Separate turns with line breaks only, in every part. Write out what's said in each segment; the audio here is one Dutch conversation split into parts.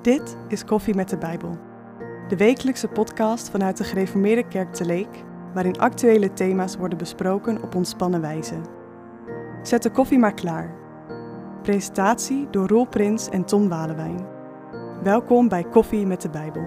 Dit is Koffie met de Bijbel, de wekelijkse podcast vanuit de Gereformeerde Kerk te Leek, waarin actuele thema's worden besproken op ontspannen wijze. Zet de koffie maar klaar. Presentatie door Roel Prins en Tom Walewijn. Welkom bij Koffie met de Bijbel.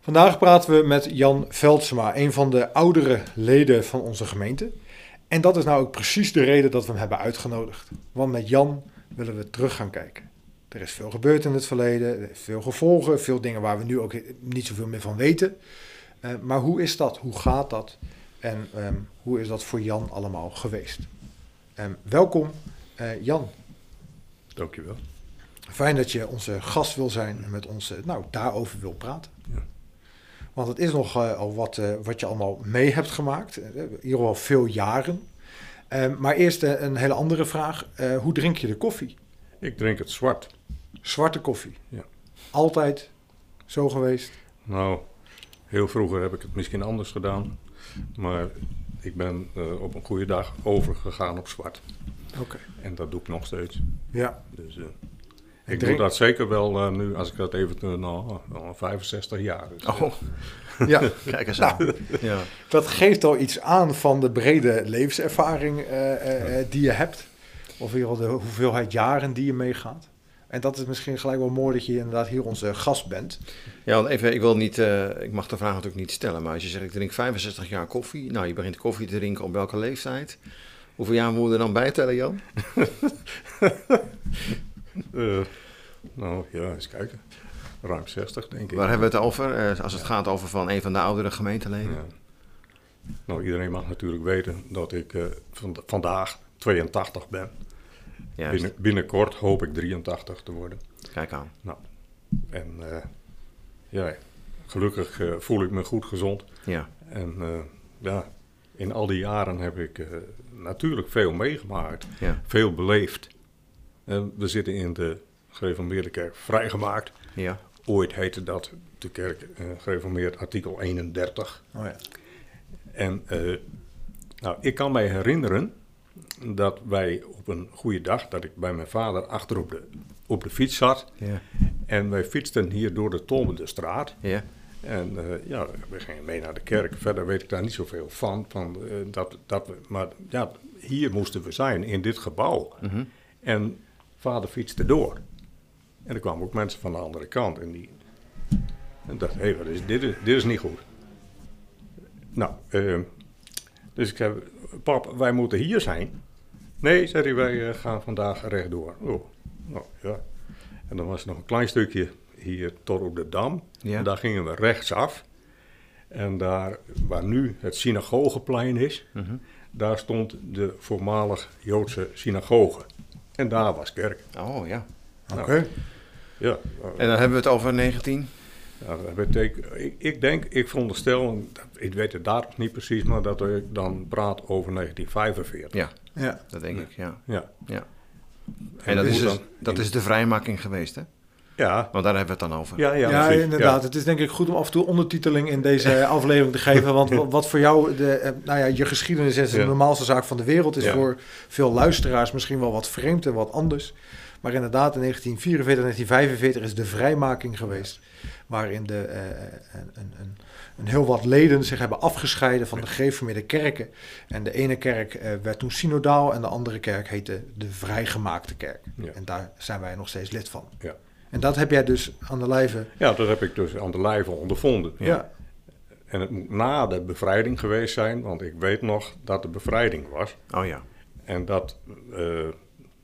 Vandaag praten we met Jan Veldsma, een van de oudere leden van onze gemeente. En dat is nou ook precies de reden dat we hem hebben uitgenodigd. Want met Jan willen we terug gaan kijken. Er is veel gebeurd in het verleden, er is veel gevolgen, veel dingen waar we nu ook niet zoveel meer van weten. Eh, maar hoe is dat? Hoe gaat dat? En ehm, hoe is dat voor Jan allemaal geweest? Ehm, welkom, eh, Jan.
Dankjewel.
Fijn dat je onze gast wil zijn en met ons eh, nou, daarover wil praten.
Ja.
Want het is nog eh, al wat, eh, wat je allemaal mee hebt gemaakt. Eh, In ieder geval veel jaren. Eh, maar eerst eh, een hele andere vraag. Eh, hoe drink je de koffie?
Ik drink het zwart.
Zwarte koffie.
Ja.
Altijd zo geweest.
Nou, heel vroeger heb ik het misschien anders gedaan. Maar ik ben eh, op een goede dag overgegaan op zwart.
Oké.
En dat doe ik nog steeds.
Ja.
Dus eh,
Ik
ik
drink-
doe dat zeker wel eh, nu, als ik dat even... eh, nou, al 65 jaar. is.
Oh,
ja.
kijk eens
Nou.
aan. Ja.
Dat geeft al iets aan van de brede levenservaring eh, eh, eh, die je hebt. Of in ieder geval de hoeveelheid jaren die je meegaat. En dat is misschien gelijk wel mooi dat je inderdaad hier onze gast bent.
ja, want even, ik wil niet, eh, ik mag de vraag natuurlijk niet stellen, maar als je zegt ik drink 65 jaar koffie, nou je begint koffie te drinken op welke leeftijd? Hoeveel jaar moeten we er dan bij tellen, Jan?
Eh, nou, ja, eens kijken. Ruim 60, denk ik.
Waar hebben we het over? Eh, als het gaat over van een van de oudere gemeenteleden.
Ja. Nou, iedereen mag natuurlijk weten dat ik eh, van- vandaag 82 ben.
Juist,
Binnen, binnenkort hoop ik 83 te worden.
dus, kijk aan.
Nou, En eh, ja, gelukkig eh, voel ik me goed gezond.
Ja,
En eh, ja, in al die jaren heb ik eh, natuurlijk veel meegemaakt,
ja,
veel beleefd. En we zitten in de gereformeerde kerk vrijgemaakt.
ja.
Ooit heette dat de kerk eh, gereformeerd artikel 31.
Oh ja.
En eh, nou, ik kan mij herinneren dat wij op een goede dag, dat ik bij mijn vader achter op de, op de fiets zat.
Ja.
En wij fietsten hier door de Tolmende straat.
Ja,
En eh, ja, we gingen mee naar de kerk. Verder weet ik daar niet zoveel van. van eh, dat, dat we, maar ja, hier moesten we zijn, in dit gebouw.
Mhm.
En vader fietste door. En er kwamen ook mensen van de andere kant. En die en dacht, hé, wat is, dit, is, dit is niet goed. Nou, eh, dus ik zei, pap, wij moeten hier zijn. Nee, zei hij, wij eh, gaan vandaag rechtdoor. Oh, nou ja. En dan was er nog een klein stukje hier tot op de Dam.
Ja.
En daar gingen we rechtsaf. En daar, waar nu het synagogeplein is, daar stond de voormalig Joodse synagoge. En daar was kerk.
oh ja.
Oké.
Nou, Ja,
En dan hebben we het over 19?
nou, dat betekent, ik, ik denk, ik veronderstel, en dat- ik weet het datum niet precies, maar dat ik dan praat over 1945.
Ja,
Ja.
dat denk ik, ja.
Ja.
ja. En,
En
dat,
dus
is,
dan-
dat is de vrijmaking geweest, hè?
Ja,
Want daar hebben we het dan over.
ja, ja,
Ja,
precies, ja.
inderdaad. Het is denk ik goed om af en toe ondertiteling in deze aflevering te geven. Want wa- wat voor jou, de, eh, nou ja, je geschiedenis is de
Ja.
normaalste zaak van de wereld. Is
Ja.
voor veel luisteraars misschien wel wat vreemd en wat anders. Maar inderdaad, in 1944, 1945 is de vrijmaking geweest. Waarin de, eh, een, een, een, een heel wat leden zich hebben afgescheiden van de gereformeerde kerken. En de ene kerk eh, werd toen synodaal en de andere kerk heette de Vrijgemaakte Kerk.
Ja.
En daar zijn wij nog steeds lid van.
Ja.
En dat heb jij dus aan de lijve.
Ja, dat heb ik dus aan de lijve ondervonden.
ja.
En het moet na de bevrijding geweest zijn, want ik weet nog dat de bevrijding was.
Oh ja.
En dat, eh,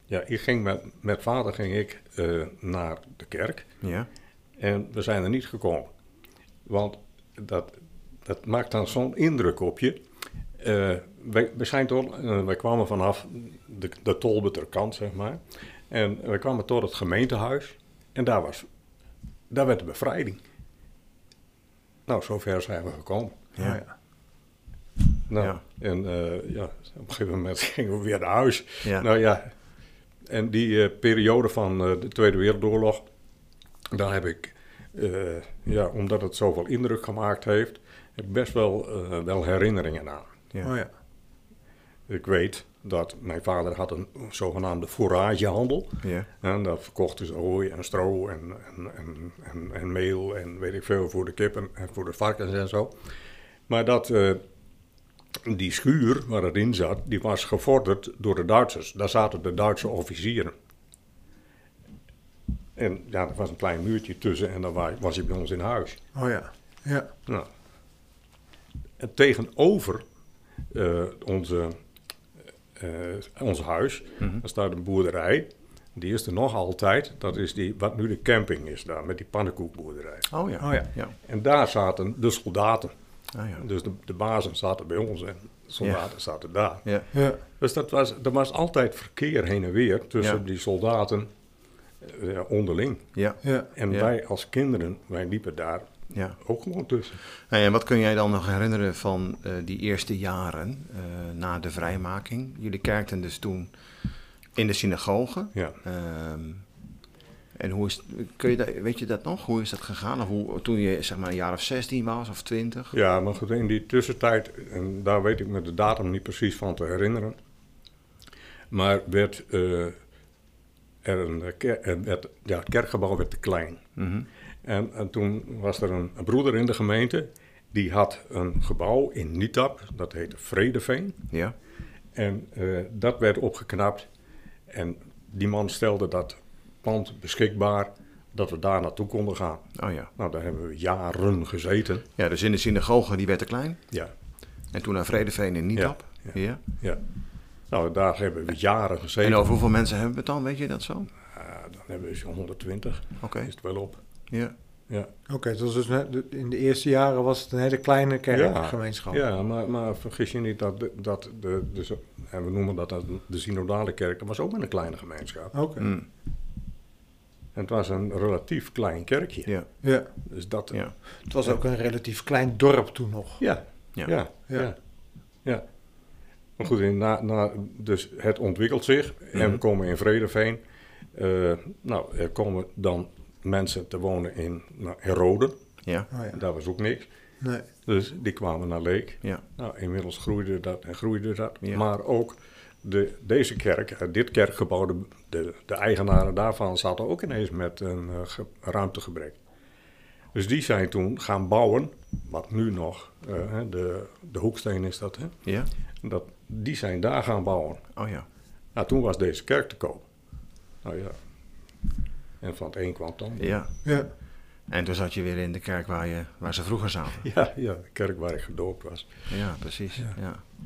ja, ik ging met, met vader ging ik eh, naar de kerk.
Ja.
En we zijn er niet gekomen. Want dat, dat maakt dan zo'n indruk op je. Eh, wij, wij, zijn tot, eh, wij kwamen vanaf de, de Tolbeterkant, zeg maar. En wij kwamen tot het gemeentehuis. En daar, was, daar werd de bevrijding. Nou, zover zijn we gekomen.
Ja. ja.
Nou,
Ja.
En eh, ja, op een gegeven moment gingen we weer naar huis.
Ja.
Nou ja, en die eh, periode van eh, de Tweede Wereldoorlog, daar heb ik, eh, ja, omdat het zoveel indruk gemaakt heeft, heb ik best wel, eh, wel herinneringen aan. Ja.
Oh ja.
Ik weet dat mijn vader had een zogenaamde foragehandel.
Ja.
En daar verkochten ze hooi en stro en, en, en, en, en meel en weet ik veel voor de kippen en voor de varkens en zo. Maar dat, eh, die schuur waar het in zat, die was gevorderd door de Duitsers. Daar zaten de Duitse officieren. En ja, er was een klein muurtje tussen en dan wa- was je bij ons in huis.
Oh ja. Ja.
Nou. En tegenover eh, onze, eh, ons huis,
Mhm.
daar staat een boerderij. Die is er nog altijd. Dat is die, wat nu de camping is daar, met die pannenkoekboerderij.
Oh ja.
Oh ja.
ja.
En daar zaten de soldaten.
Ah, ja.
Dus de, de bazen zaten bij ons en de soldaten zaten daar.
ja.
Ja.
Dus dat was, er was altijd verkeer heen en weer tussen
Ja.
die soldaten eh, onderling.
Ja.
Ja.
En
Ja.
wij als kinderen, wij liepen daar
ja.
ook gewoon tussen.
Hey, en Nou wat kun jij dan nog herinneren van eh, die eerste jaren eh, na de vrijmaking? Jullie kerkten dus toen in de synagoge.
Ja.
Ehm, en hoe is, kun je dat, weet je dat nog? Hoe is dat gegaan? Of hoe, toen je zeg maar een jaar of 16 was of 20?
Ja, maar goed, in die tussentijd, en daar weet ik me de datum niet precies van te herinneren, maar werd, eh, er een, eh, ker- er werd, ja, het kerkgebouw werd te klein.
Mhm.
En, en toen was er een, een broeder in de gemeente, die had een gebouw in Nietap, dat heette Vredeveen,
Ja.
en eh, dat werd opgeknapt. En die man stelde dat pand beschikbaar, dat we daar naartoe konden gaan.
Oh ja.
Nou, daar hebben we jaren gezeten.
Ja, dus in de synagoge die werd te klein.
Ja,
En toen naar Vredeveen in Nietap.
Ja,
Ja.
Ja. Nou, daar hebben we jaren gezeten.
En over hoeveel mensen hebben we het dan? Weet je dat zo? Oké.
Ah, dan hebben we zo'n 120. Is het wel op.
Ja.
Ja,
Oké, het was dus net- in de eerste jaren was het een hele kleine kerkgemeenschap.
ja maar, maar vergis je niet dat, de- dat de, de, zo- en we noemen dat dan de synodale kerk, dat was ook maar een kleine gemeenschap.
Oké.
Mm.
En het was een relatief klein kerkje.
Ja.
Ja.
Dus dat,
Ja.
Het was ook een relatief klein dorp toen nog.
Ja,
Ja.
ja, ja.
Ja.
ja. Maar goed, in- na, na, dus het ontwikkelt zich en
Mhm.
we komen in Vredeveen. Eh, nou, er komen dan mensen te wonen in, nou, in Roden.
Ja.
Oh ja.
Daar was ook niks.
Nee.
Dus die kwamen naar Leek.
Ja.
Nou, inmiddels groeide dat en groeide dat.
Ja.
Maar ook de, deze kerk, eh, dit kerkgebouw, de, de, de eigenaren daarvan zaten ook ineens met een eh, ge- ruimtegebrek. Dus die zijn toen gaan bouwen, wat nu nog, eh, hè, de, de hoeksteen is dat, hè?
Ja.
dat. Die zijn daar gaan bouwen.
Oh ja.
Nou, toen was deze kerk te koop. Nou ja. En van het een kwam het ander.
Ja.
Ja.
En toen zat je weer in de kerk waar, je, waar ze vroeger zaten.
Ja, ja, de kerk waar ik gedoopt was.
Ja, precies. Ja.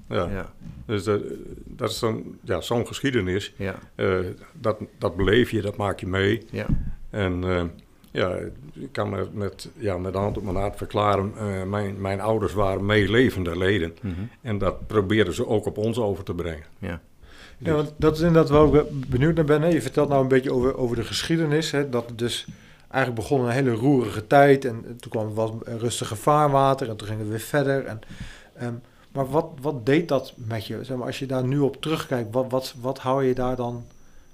Ja.
Ja.
Ja.
Dus dat, dat is dan ja, zo'n geschiedenis.
Ja.
Eh, dat, dat beleef je, dat maak je mee.
Ja.
En eh, ja, ik kan met, met, ja, met de hand op mijn hart verklaren, eh, mijn, mijn ouders waren meelevende leden.
Mhm.
En dat probeerden ze ook op ons over te brengen. Dus-
Ja, want dat is inderdaad waar ik be- benieuwd naar ben. Hè. Je vertelt nou een beetje over, over de geschiedenis. Hè, dat het dus eigenlijk begon een hele roerige tijd. En eh, toen kwam het wat rustige vaarwater. En toen gingen we weer verder. En, ehm, maar wat, wat deed dat met je? Zeg maar, als je daar nu op terugkijkt, wat, wat, wat hou je daar dan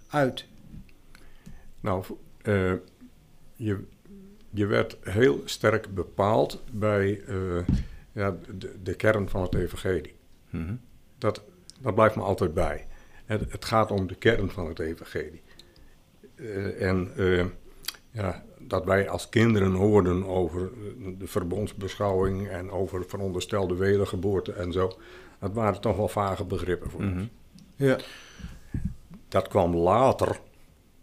uit?
Nou, v- eh, je, je werd heel sterk bepaald bij eh, ja, de, de kern van het evangelie.
Mhm.
Dat, dat blijft me altijd bij. Het, het gaat om de kern van het evangelie. Eh, en eh, ja, dat wij als kinderen hoorden over eh, de verbondsbeschouwing en over veronderstelde wedergeboorte en zo. Dat waren toch wel vage begrippen voor
Mhm.
ons.
Ja.
Dat kwam later,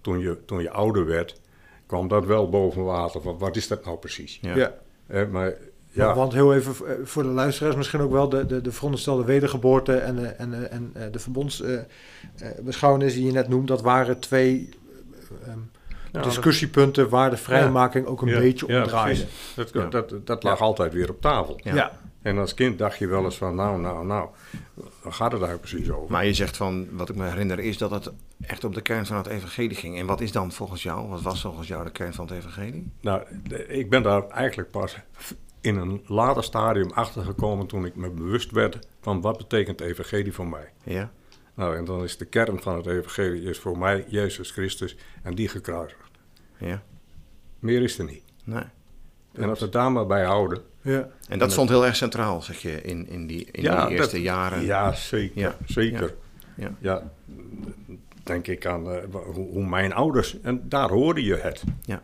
toen je, toen je ouder werd, kwam dat wel boven water. Van, wat is dat nou precies?
Ja.
ja.
Eh, maar ja,
Want heel even eh, voor de luisteraars misschien ook wel de, de, de veronderstelde wedergeboorte en, de- en, de- en eh, de verbondsbeschouwenis die je net noemt, dat waren twee eh, ehm,
ja,
discussiepunten waar de vrijmaking ook een
ja,
beetje
ja,
om draaide.
precies. Dat,
Ja.
dat, dat lag altijd weer op tafel.
Ja.
En als kind dacht je wel eens van, nou, nou, nou, waar gaat het daar precies over?
Maar je zegt van, wat ik me herinner is dat het echt op de kern van het evangelie ging. En wat is dan volgens jou, wat was volgens jou de kern van het evangelie?
Nou, de- ik ben daar eigenlijk pas in een later stadium achtergekomen toen ik me bewust werd van wat betekent de evangelie voor mij.
Ja.
Nou, en dan is de kern van het evangelie is voor mij Jezus Christus en die gekruisigd.
Ja.
Meer is er niet.
Nee.
En als we het daar maar bij houden.
Ja.
En dat stond heel erg centraal, zeg je, in, in die, in
Ja,
die eerste
dat-
jaren.
Ja, zeker.
Ja.
Zeker.
Ja.
Ja. Denk ik aan eh, wa- hoe, hoe mijn ouders. En daar hoorde je het.
Ja.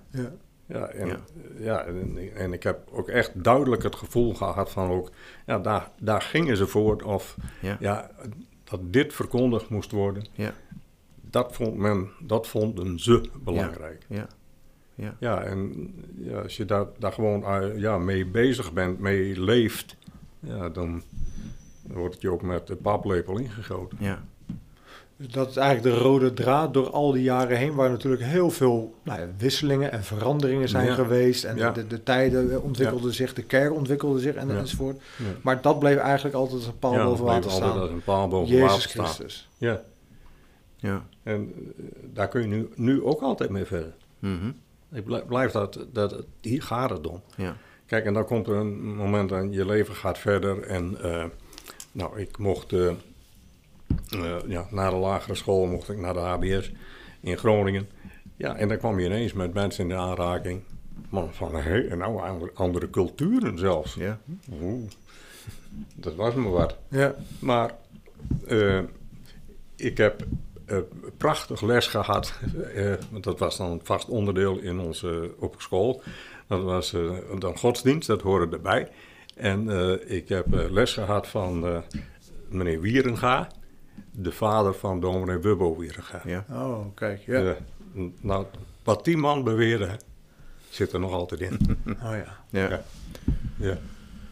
Ja, en,
Ja.
ja. en, en ik heb ook echt duidelijk het gevoel gehad van ook, ja, daar, daar gingen ze voor. Of
Ja.
ja. dat dit verkondigd moest worden.
Ja.
Dat, vond men, dat vonden ze belangrijk.
Ja. Ja.
Ja, en ja, als je daar, daar gewoon eh, ja, mee bezig bent, mee leeft, ja, dan wordt het je ook met de paplepel ingegoten.
Ja.
Dus dat is eigenlijk de rode draad door al die jaren heen, waar natuurlijk heel veel nou ja, wisselingen en veranderingen zijn
Ja.
geweest. En
Ja.
de, de tijden ontwikkelden zich, de kerk ontwikkelde zich en,
Ja.
enzovoort.
Ja.
Maar dat bleef eigenlijk altijd een paal
ja,
boven
dan
water
bleef altijd
staan.
als een paal boven water
Jezus
staan.
Christus.
Ja,
Ja.
en eh, daar kun je nu, nu ook altijd mee verder.
Mhm.
Ik blijf, blijf dat, dat, hier gaat het om.
Ja.
Kijk, en dan komt er een moment en je leven gaat verder. En eh, nou, ik mocht eh, eh, ja, na de lagere school mocht ik naar de HBS in Groningen. Ja, en dan kwam je ineens met mensen in de aanraking. Man, van hé, en nou andere- andere culturen zelfs.
Ja.
Oeh, dat was me wat.
Ja.
Maar eh, ik heb eh, prachtig les gehad. eh, want dat was dan een vast onderdeel in onze eh, op school. Dat was eh, dan godsdienst, dat hoorde erbij. En eh, ik heb eh, les gehad van eh, meneer Wierenga, de vader van dominee Wubbo Wierenga.
Ja.
Oh, kijk. Ja.
Eh, n- nou, wat die man beweerde, zit er nog altijd in.
Oh ja.
Ja.
ja.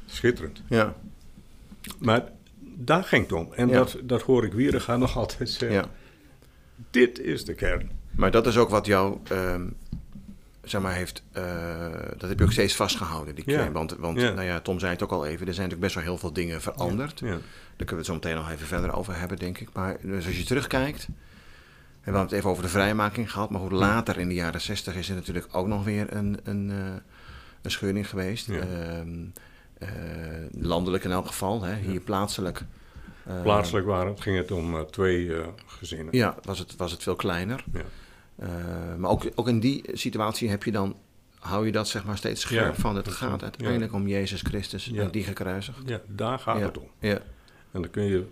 Schitterend.
Ja.
Maar daar ging het om. En
Ja.
dat, dat hoor ik Wierenga nog altijd zeggen.
Ja.
Dit is de kern.
Maar dat is ook wat jou, ehm, zeg maar, heeft. eh, dat heb je ook steeds vastgehouden, die
Ja.
claim. Want, want
Ja.
Nou ja, Tom zei het ook al even. Er zijn natuurlijk best wel heel veel dingen veranderd.
Ja.
Daar kunnen we het zo meteen nog even verder over hebben, denk ik. Maar dus als je terugkijkt. En we hebben het even over de vrijmaking gehad. Maar goed, later in de jaren zestig is er natuurlijk ook nog weer een, een, eh, een scheuring geweest.
Ja.
Ehm, eh, landelijk in elk geval, hè, hier plaatselijk. eh,
Plaatselijk waren, het, ging het om eh, twee eh, gezinnen.
Ja, was het, was het veel kleiner.
Ja.
Eh, maar ook, ook in die situatie heb je dan, hou je dat zeg maar steeds scherp
Ja,
van. Het
dat
gaat
klopt.
uiteindelijk om Jezus Christus
Ja. Ah,
en die gekruisigd.
Ja, daar gaat
ja.
het om.
Ja.
En dan kun je,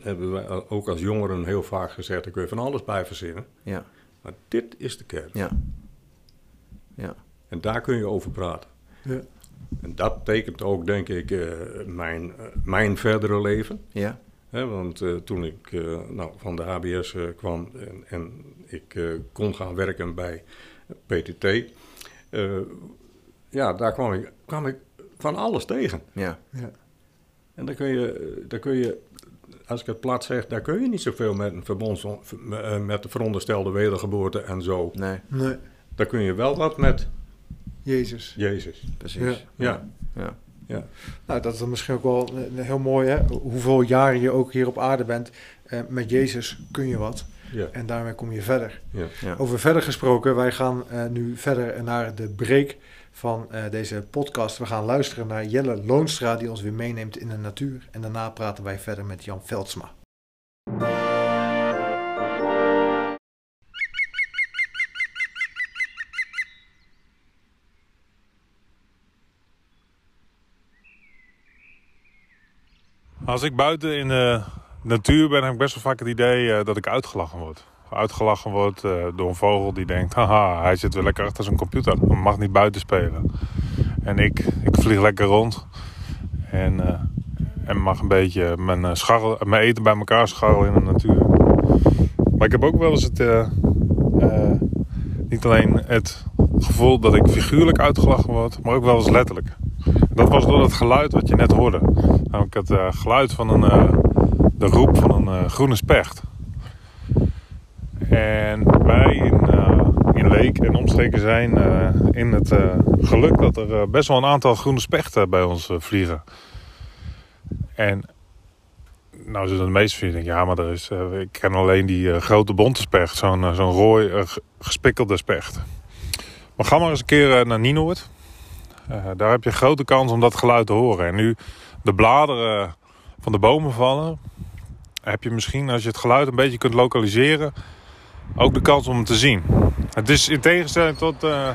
hebben wij eh, ook als jongeren heel vaak gezegd, daar kun je van alles bij verzinnen.
Ja.
Maar dit is de kern.
Ja. Ja.
En daar kun je over praten.
Ja.
En dat tekent ook, denk ik, eh, mijn, eh, mijn verdere leven.
Ja.
Hè, want eh, toen ik eh, nou, van de HBS eh, kwam en, en ik eh, kon gaan werken bij PTT, eh, ja, daar kwam ik, kwam ik van alles tegen.
Ja.
En daar kun je, eh, daar kun je als ik het plat zeg, daar kun je niet zoveel met een verbond, eh, met de veronderstelde wedergeboorte en zo.
Nee,
Nee.
Daar kun je wel wat met
Jezus.
Jezus.
precies.
Ja,
Ja.
Nou, dat is dan misschien ook wel een, een heel mooi, hè? Hoeveel jaren je ook hier op aarde bent, eh, met Jezus kun je wat.
ja,
En daarmee kom je verder.
ja.
Ja.
Over verder gesproken, wij gaan eh, nu verder naar de break van eh, deze podcast. We gaan luisteren naar Jelle Loonstra, die ons weer meeneemt in de natuur. En daarna praten wij verder met Jan Veldsma.
Als ik buiten in de natuur ben, heb ik best wel vaak het idee eh, dat ik uitgelachen word. Uitgelachen word eh, door een vogel die denkt: haha, hij zit weer lekker achter zijn computer. Hij mag niet buiten spelen. En ik, ik vlieg lekker rond. En, eh, en mag een beetje mijn, eh, scharrel, mijn eten bij elkaar scharrelen in de natuur. Maar ik heb ook wel eens het. eh, eh, niet alleen het gevoel dat ik figuurlijk uitgelachen word, maar ook wel eens letterlijk. Dat was door dat geluid wat je net hoorde. Namelijk het eh, geluid van een, eh, de roep van een eh, groene specht. En wij in, eh, in Leek en omstreken zijn eh, in het eh, geluk dat er eh, best wel een aantal groene spechten bij ons eh, vliegen. En nou zullen de meesten van jullie denken, ja, maar er is, eh, ik ken alleen die eh, grote bonte specht, zo'n eh, zo'n rooi eh, ge- gespikkelde specht. Maar ga maar eens een keer eh, naar Nienoord. Eh, daar heb je grote kans om dat geluid te horen. En nu de bladeren van de bomen vallen, heb je misschien, als je het geluid een beetje kunt lokaliseren, ook de kans om het te zien. Het is in tegenstelling tot eh,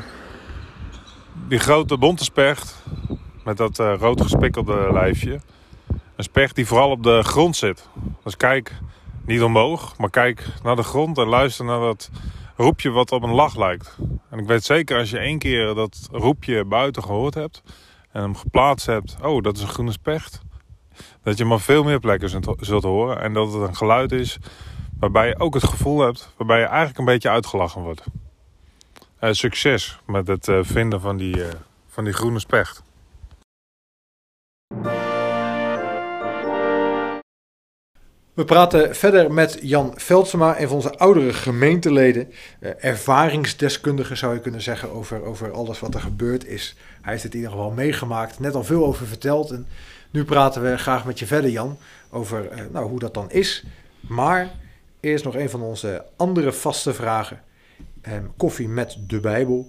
die grote bonte specht met dat eh, rood gespikkelde lijfje. Een specht die vooral op de grond zit. Dus kijk niet omhoog, maar kijk naar de grond en luister naar dat roepje wat op een lach lijkt. En ik weet zeker als je één keer dat roepje buiten gehoord hebt en hem geplaatst hebt, oh dat is een groene specht. Dat je maar veel meer plekken zult- zult horen en dat het een geluid is waarbij je ook het gevoel hebt, waarbij je eigenlijk een beetje uitgelachen wordt. Eh, succes met het eh, vinden van die, eh, van die groene specht.
We praten verder met Jan Veldsema, een van onze oudere gemeenteleden. eh, ervaringsdeskundige zou je kunnen zeggen over, over alles wat er gebeurd is. Hij heeft het in ieder geval meegemaakt, net al veel over verteld. En nu praten we graag met je verder, Jan, over eh, nou, hoe dat dan is. Maar eerst nog een van onze andere vaste vragen. Eh, koffie met de Bijbel,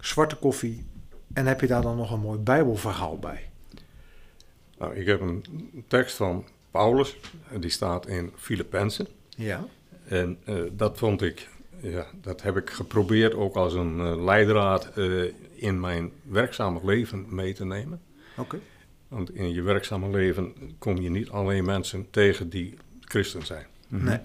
zwarte koffie. En heb je daar dan nog een mooi Bijbelverhaal bij?
Nou, ik heb een tekst van Paulus, en die staat in Filippenzen.
Ja.
En eh, dat vond ik, ja, dat heb ik geprobeerd ook als een eh, leidraad eh, in mijn werkzame leven mee te nemen.
Oké.
Want in je werkzame leven kom je niet alleen mensen tegen die christen zijn.
Nee.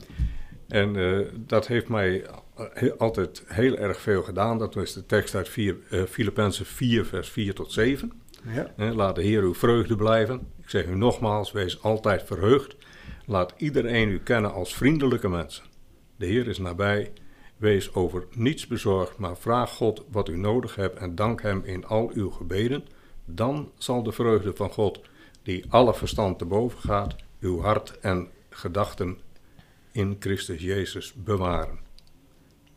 En eh, dat heeft mij eh, he- altijd heel erg veel gedaan. Dat is de tekst uit vier, eh, Filippenzen 4, vers 4 tot 7.
Ja.
Hè, Laat de Heer uw vreugde blijven. Ik zeg u nogmaals, wees altijd verheugd. Laat iedereen u kennen als vriendelijke mensen. De Heer is nabij. Wees over niets bezorgd, maar vraag God wat u nodig hebt en dank Hem in al uw gebeden. Dan zal de vreugde van God, die alle verstand te boven gaat, uw hart en gedachten in Christus Jezus bewaren.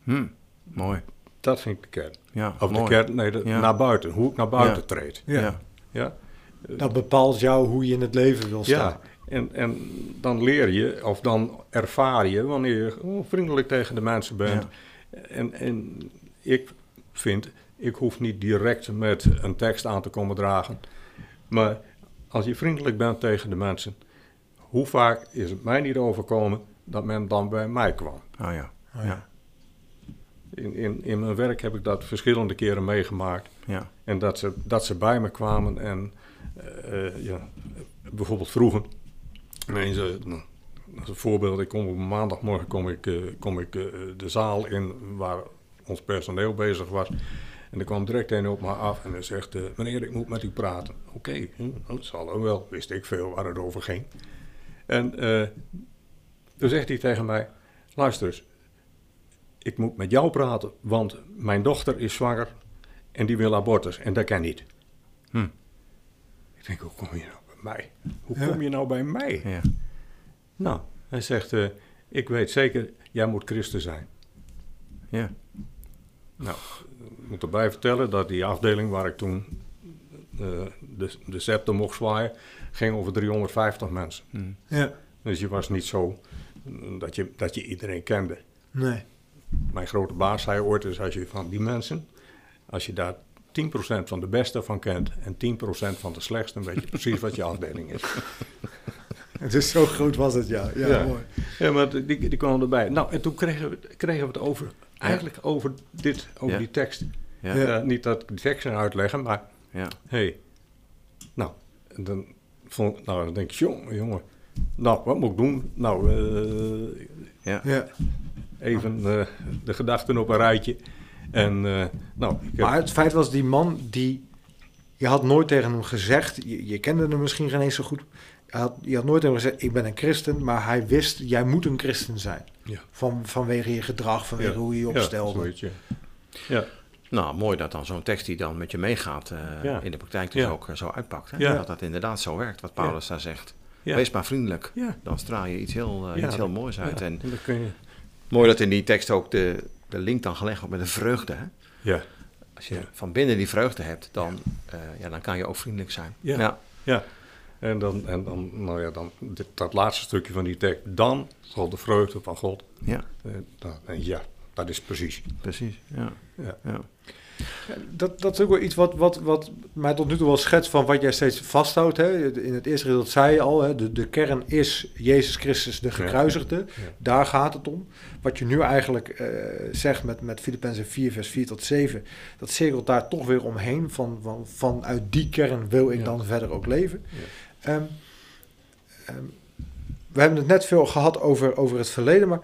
Hm, mooi.
Dat vind ik de kern.
Ja,
Of
mooi.
de kern, nee, de-
Ja.
naar buiten. Hoe ik naar buiten
Ja.
treed.
Ja.
Ja?
Dat bepaalt jou hoe je in het leven wil staan.
Ja, en, en dan leer je, of dan ervaar je, wanneer je gewoon vriendelijk tegen de mensen bent. En, en ik vind, ik hoef niet direct met een tekst aan te komen dragen. Maar als je vriendelijk bent tegen de mensen, hoe vaak is het mij niet overkomen dat men dan bij mij kwam?
Oh ja.
Oh ja.
ja.
In, in, in mijn werk heb ik dat verschillende keren meegemaakt.
ja.
En dat ze, dat ze bij me kwamen en eh, eh, ja, bijvoorbeeld vroegen. Nee, ze, nou, als een voorbeeld, ik kom op maandagmorgen kom ik, eh, kom ik eh, de zaal in waar ons personeel bezig was. En er kwam direct een op me af en hij zegt, eh, meneer, ik moet met u praten. Oké, hm, dat zal ook wel. Wist ik veel waar het over ging. En eh, toen zegt hij tegen mij, luister eens, ik moet met jou praten, want mijn dochter is zwanger en die wil abortus en dat kan niet.
Hm.
Ik denk, hoe kom je nou bij mij? Hoe kom je nou bij mij?
Ja.
Nou, hij zegt, eh, ik weet zeker, jij moet christen zijn.
Ja.
Nou, ik moet erbij vertellen dat die afdeling waar ik toen eh, de, de scepter mocht zwaaien, ging over 350 mensen.
Hm.
ja.
Dus je was niet zo mm, dat je, dat je iedereen kende.
Nee.
Mijn grote baas zei ooit eens, als je van die mensen, als je daar 10% van de beste van kent en 10% van de slechtste, dan weet je precies wat je afdeling is.
Het is zo groot was het, ja. Ja,
Ja.
mooi.
Ja, maar die, die kwam erbij. Nou, en toen kregen we, kregen we het over, eigenlijk over dit, over
Ja.
die tekst.
Ja.
Eh, niet dat ik die tekst zou uitleggen, maar
Ja.
hé. Hey, nou, dan vond ik, nou, dan denk ik, jongen, jongen. Nou, wat moet ik doen? Nou, eh,
Ja.
Ja.
even eh, de gedachten op een rijtje. En, eh, nou, ik heb-
Maar het feit was, die man die... Je had nooit tegen hem gezegd... Je, je kende hem misschien geen eens zo goed. Je had, je had nooit tegen hem gezegd, ik ben een christen. Maar hij wist, jij moet een christen zijn.
Ja.
Van, vanwege je gedrag, vanwege hoe je je
Ja,
opstelde.
zoiets, ja. ja.
Nou, mooi dat dan zo'n tekst die dan met je meegaat eh,
Ja.
in de praktijk dus
Ja.
ook eh, zo uitpakt. Hè?
Ja.
Dat dat inderdaad zo werkt, wat Paulus daar zegt.
Ja.
Wees maar vriendelijk.
Ja.
Dan straal je iets heel, eh,
Ja.
iets heel moois uit.
Ja,
En
dan kun je...
mooi dat in die tekst ook de, de link dan gelegd wordt met een vreugde. Hè?
Ja.
Als je
Ja.
van binnen die vreugde hebt, dan, eh, ja, dan kan je ook vriendelijk zijn.
Ja.
ja.
Ja, en dan, en dan, nou ja, dan dit, dat laatste stukje van die tekst. Dan zal de vreugde van God.
Ja,
eh, dan- en ja, dat is precies.
precies. Ja.
Ja.
Ja.
Dat, dat is ook wel iets wat, wat, wat mij tot nu toe wel schetst van wat jij steeds vasthoudt. Hè? In het eerste gedeelte zei je al, hè? De, de kern is Jezus Christus, de gekruisigde. Daar gaat het om. Wat je nu eigenlijk eh, zegt met, met Filippenzen 4, vers 4 tot 7, dat cirkelt daar toch weer omheen. Van, van, vanuit die kern wil ik
Ja.
dan verder ook leven. Ehm, ehm, we hebben het net veel gehad over, over het verleden, maar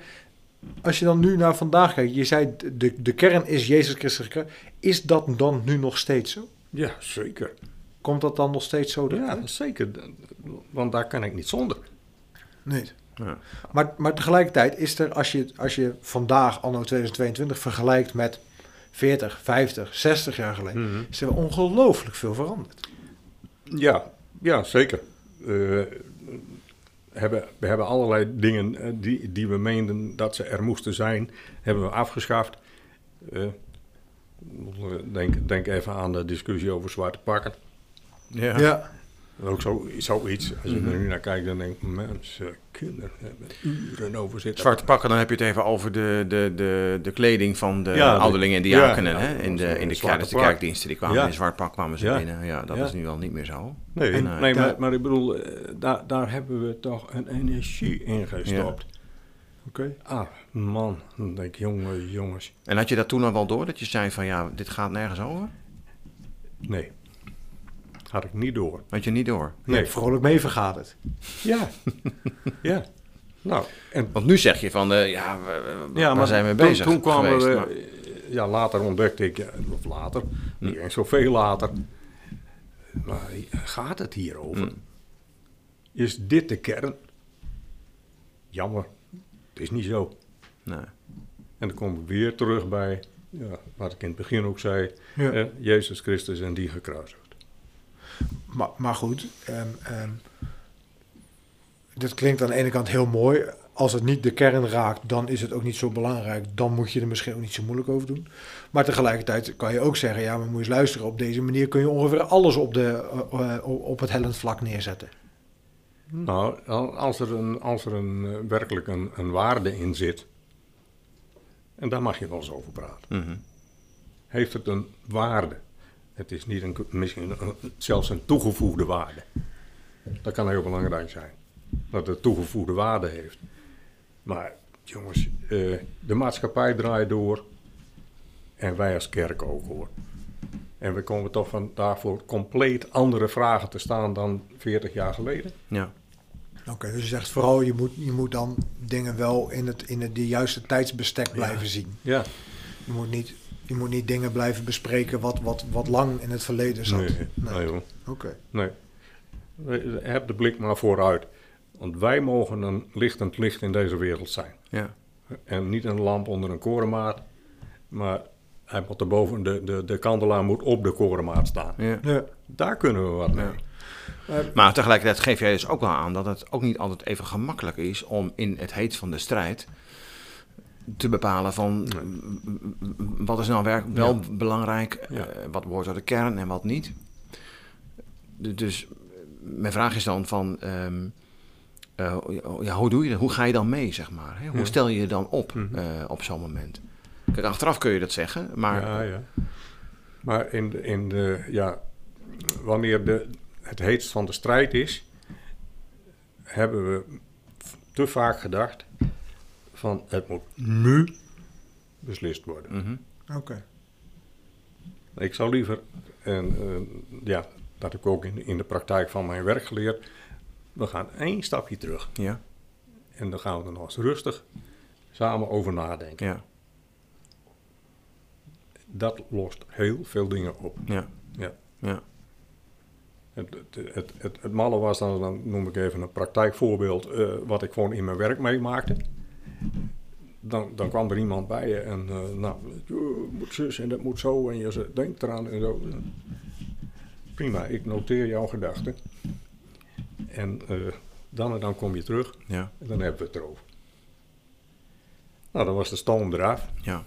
als je dan nu naar vandaag kijkt, je zei de, de kern is Jezus Christus. gekruisigd. Is dat dan nu nog steeds zo?
Ja, zeker.
Komt dat dan nog steeds zo? eruit?
Ja, zeker. Want daar kan ik niet zonder.
Nee.
Ja.
Maar, maar tegelijkertijd is er, als je, als je vandaag, anno 2022, vergelijkt met 40, 50, 60 jaar geleden,
Mhm.
is er ongelooflijk veel veranderd.
Ja, ja zeker. Eh, hebben, we hebben allerlei dingen eh, die, die we meenden dat ze er moesten zijn, hebben we afgeschaft. Eh, denk, denk even aan de discussie over zwarte pakken.
Ja.
Dat is Ook zo, zoiets. Als je er nu naar kijkt, dan denk ik, mensen, kinderen hebben uren over zitten.
Zwarte pakken, dan heb je het even over de, de, de, de kleding van de
Ja, de-
ouderlingen en diakenen.
ja, ja,
hè? In de, in de,
zwarte
kerk, de
pak.
kerkdiensten, die kwamen
Ja.
in zwart pak kwamen ze
Ja.
binnen. Ja, dat
Ja.
is nu al niet meer zo.
Nee,
En,
nee,
eh,
maar, maar ik bedoel, eh, daar, daar hebben we toch een energie in gestopt.
Oké.
Ah, man, dan denk ik, jongen, jongens.
En had je dat toen al wel door, dat je zei van ja, dit gaat nergens over?
Nee, had ik niet door.
Had je niet door?
Nee,
Vrolijk mee vergaderd.
ja. ja. Nou, en
Want nu zeg je van eh, ja, we- we-
ja,
waar zijn we mee
toen-
bezig
Toen kwamen
geweest?
we,
Maar- Hm.
ja, later ontdekte ik, ja, of later, niet eens zoveel later. Maar gaat het hier over?
Hm.
Is dit de kern? Jammer, het is niet zo.
nee.
En dan kom ik weer terug bij ja, wat ik in het begin ook zei:
Ja.
eh, Jezus Christus en die gekruisigd.
Maar, maar goed, ehm, ehm, dit klinkt aan de ene kant heel mooi. Als het niet de kern raakt, dan is het ook niet zo belangrijk. Dan moet je er misschien ook niet zo moeilijk over doen. Maar tegelijkertijd kan je ook zeggen, ja, maar moet je eens luisteren. Op deze manier kun je ongeveer alles op, de, eh, eh, op het hellend vlak neerzetten.
Nou, al- als er, een, als er een, eh, werkelijk een, een waarde in zit, en daar mag je wel eens over praten,
Mhm.
heeft het een waarde. Het is niet een, misschien een- zelfs een toegevoegde waarde. Dat kan heel belangrijk zijn, dat het toegevoegde waarde heeft. Maar jongens, eh, de maatschappij draait door en wij als kerk ook hoor. En we komen toch van daarvoor compleet andere vragen te staan dan 40 jaar geleden.
Ja.
Oké, dus je zegt vooral, je moet, je moet dan dingen wel in het, in het de juiste tijdsbestek blijven zien.
Ja.
Je moet niet, je moet niet dingen blijven bespreken wat, wat, wat lang in het verleden zat.
Nee, nee,
Oké.
hoor. Nee. We- Heb de blik maar vooruit. Want wij mogen een lichtend licht in deze wereld zijn.
Ja.
En niet een lamp onder een korenmaat. Maar hij moet erboven, de, de, de kandelaar moet op de korenmaat staan.
ja.
Ja.
Daar kunnen we wat mee.
Ja. Maar tegelijkertijd geef jij dus ook wel aan dat het ook niet altijd even gemakkelijk is om in het heet van de strijd te bepalen van w- w- wat is nou werk, wel belangrijk,
Ja.
eh, wat behoort tot de kern en wat niet. D- Dus eh, mijn vraag is dan van, ehm, eh, ja, hoe doe je dat? Hoe ga je dan mee, zeg maar? Hè? Hoe stel je je dan op
Mhm.
eh, op zo'n moment? Kijk, achteraf kun je dat zeggen, maar
Ja, ja. Maar in de, in de, ja, wanneer de, het heetst van de strijd is, hebben we te vaak gedacht van het moet nu beslist worden.
Oké.
Ik zou liever, en eh, ja, dat heb ik ook in, in de praktijk van mijn werk geleerd, we gaan één stapje terug
ja,
en dan gaan we er nog eens rustig samen over nadenken.
ja,
Dat lost heel veel dingen op.
ja,
Ja.
ja,
Het, het, het, het, het malle was dan, dan noem ik even een praktijkvoorbeeld, eh, wat ik gewoon in mijn werk meemaakte. Dan, dan kwam er iemand bij je en eh, nou, je moet zus en dat moet zo en je zegt, denkt eraan en zo. Prima, ik noteer jouw gedachten. En eh, dan en dan kom je terug
ja,
en dan hebben we het erover. Nou, dan was de stoom eraf.
ja.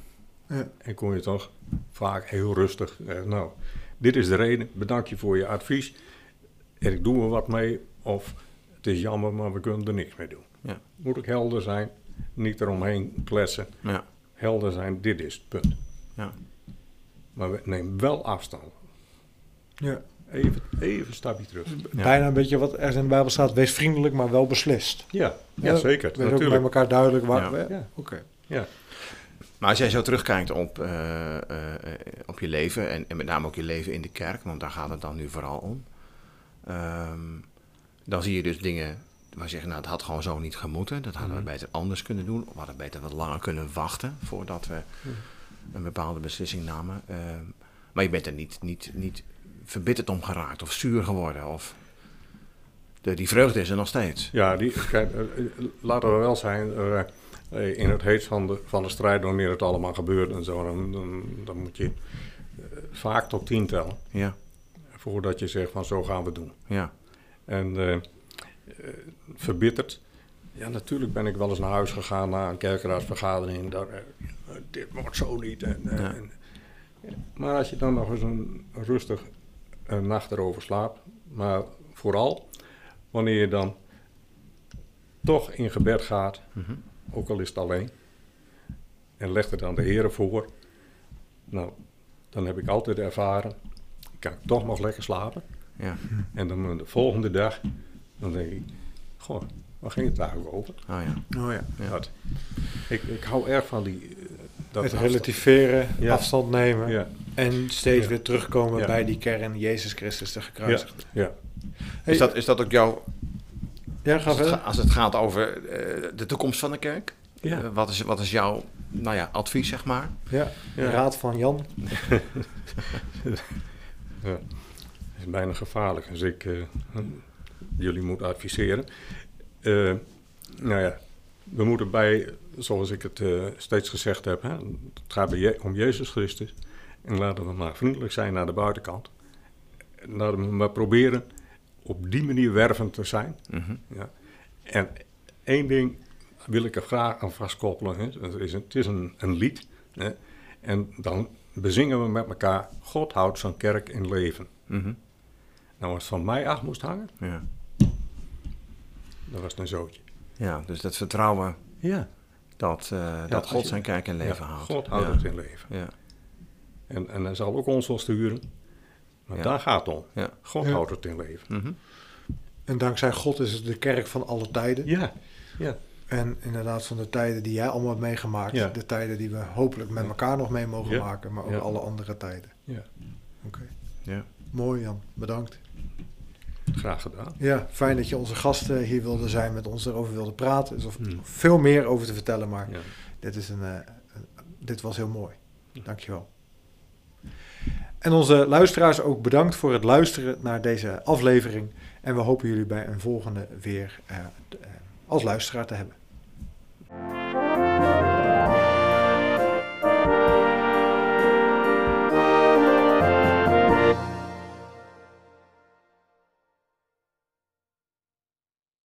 En kon je toch vaak heel rustig. eh, nou, dit is de reden. Bedank je voor je advies. En ik doe er wat mee. Of het is jammer, maar we kunnen er niks mee doen.
Ja.
Moet ik helder zijn. Niet eromheen kletsen.
ja.
Helder zijn, dit is het punt.
Ja.
Maar we nemen wel afstand.
Ja.
Even, even een stapje terug.
Bijna een beetje wat er in de Bijbel staat. Wees vriendelijk, maar wel beslist.
Ja, ja zeker.
Wees ook bij
natuurlijk.
elkaar duidelijk waar
Ja.
we...
Ja.
Oké.
Ja.
Maar als jij zo terugkijkt op, eh, eh, eh, op je leven, en, en met name ook je leven in de kerk, want daar gaat het dan nu vooral om. ehm, dan zie je dus dingen waar je zegt, nou, het had gewoon zo niet gemoeten. Dat hadden we beter anders kunnen doen. Of we hadden beter wat langer kunnen wachten voordat we een bepaalde beslissing namen. Ehm, maar je bent er niet, niet, niet verbitterd om geraakt of zuur geworden. Of de, die vreugde is er nog steeds.
Ja, die, kijk, eh, eh, laten we wel zijn. eh, eh, in het heet van de, van de strijd, wanneer het allemaal gebeurt en zo, dan, dan, dan moet je eh, vaak tot tien tellen.
Ja,
Voordat je zegt van zo gaan we het doen.
ja.
En eh, eh, verbitterd. Ja, natuurlijk ben ik wel eens naar huis gegaan na een kerkraadsvergadering. Daar, eh, dit wordt zo niet. En, eh,
Ja.
en- eh. maar als je dan nog eens een rustig een nacht erover slaapt. Maar vooral wanneer je dan toch in gebed gaat, ook al is het alleen. En legt het aan de heren voor. Nou, dan heb ik altijd ervaren. Ik kan toch nog lekker slapen.
ja.
En dan eh, de volgende dag, dan denk ik, goh, waar ging het eigenlijk over?
Oh, ja.
Oh ja.
Dat. Ik, ik hou erg van die... eh, Dat
Het
afstand.
relativeren,
Ja.
afstand nemen
Ja,
en steeds
Ja.
weer terugkomen
Ja.
bij die kern Jezus Christus de
ja,
gekruisigde.
ja.
Is, dat, is dat ook jouw
Ja, ga
Dus
Als het, ga-
verder.
als het gaat over eh, de toekomst van de kerk,
Ja.
eh, wat, is, wat is jouw nou ja, advies, zeg maar?
Ja.
Ja.
Raad van Jan.
Het is bijna gevaarlijk als ik eh, jullie moet adviseren. Eh, nou ja, we moeten bij, zoals ik het eh, steeds gezegd heb, hè, het gaat bij Je- om Jezus Christus. En laten we maar vriendelijk zijn naar de buitenkant. En Laten we maar proberen op die manier wervend te zijn. ja. En één ding wil ik er graag aan vastkoppelen. Hè. Het is, een, het is een, een lied. Hè. En dan bezingen we met elkaar: God houdt zijn kerk in leven. Nou, als het van mij af moest hangen,
ja.
dat was het een zootje.
ja, dus dat vertrouwen
Ja.
dat, eh, dat
als
God
je-
zijn kerk in leven houdt.
God houdt
ja.
het in leven.
Ja.
En, en hij zal ook ons wel sturen. Maar
Ja.
daar gaat het om.
Ja.
God
Ja.
houdt het in leven.
Mhm.
En dankzij God is het de kerk van alle tijden.
Ja. Ja.
En inderdaad van de tijden die jij allemaal hebt meegemaakt.
Ja.
De tijden die we hopelijk met elkaar nog mee mogen
Ja.
maken. Maar ook
Ja.
alle andere tijden.
ja.
Oké.
Ja.
Mooi Jan, bedankt.
Graag gedaan.
Ja, fijn dat je onze gasten hier wilde zijn, met ons erover wilde praten. Er is of veel meer over te vertellen, maar
Ja.
dit, is een, eh, een- dit was heel mooi. Dankjewel. En onze luisteraars ook bedankt voor het luisteren naar deze aflevering. En we hopen jullie bij een volgende weer eh, eh, als luisteraar te hebben.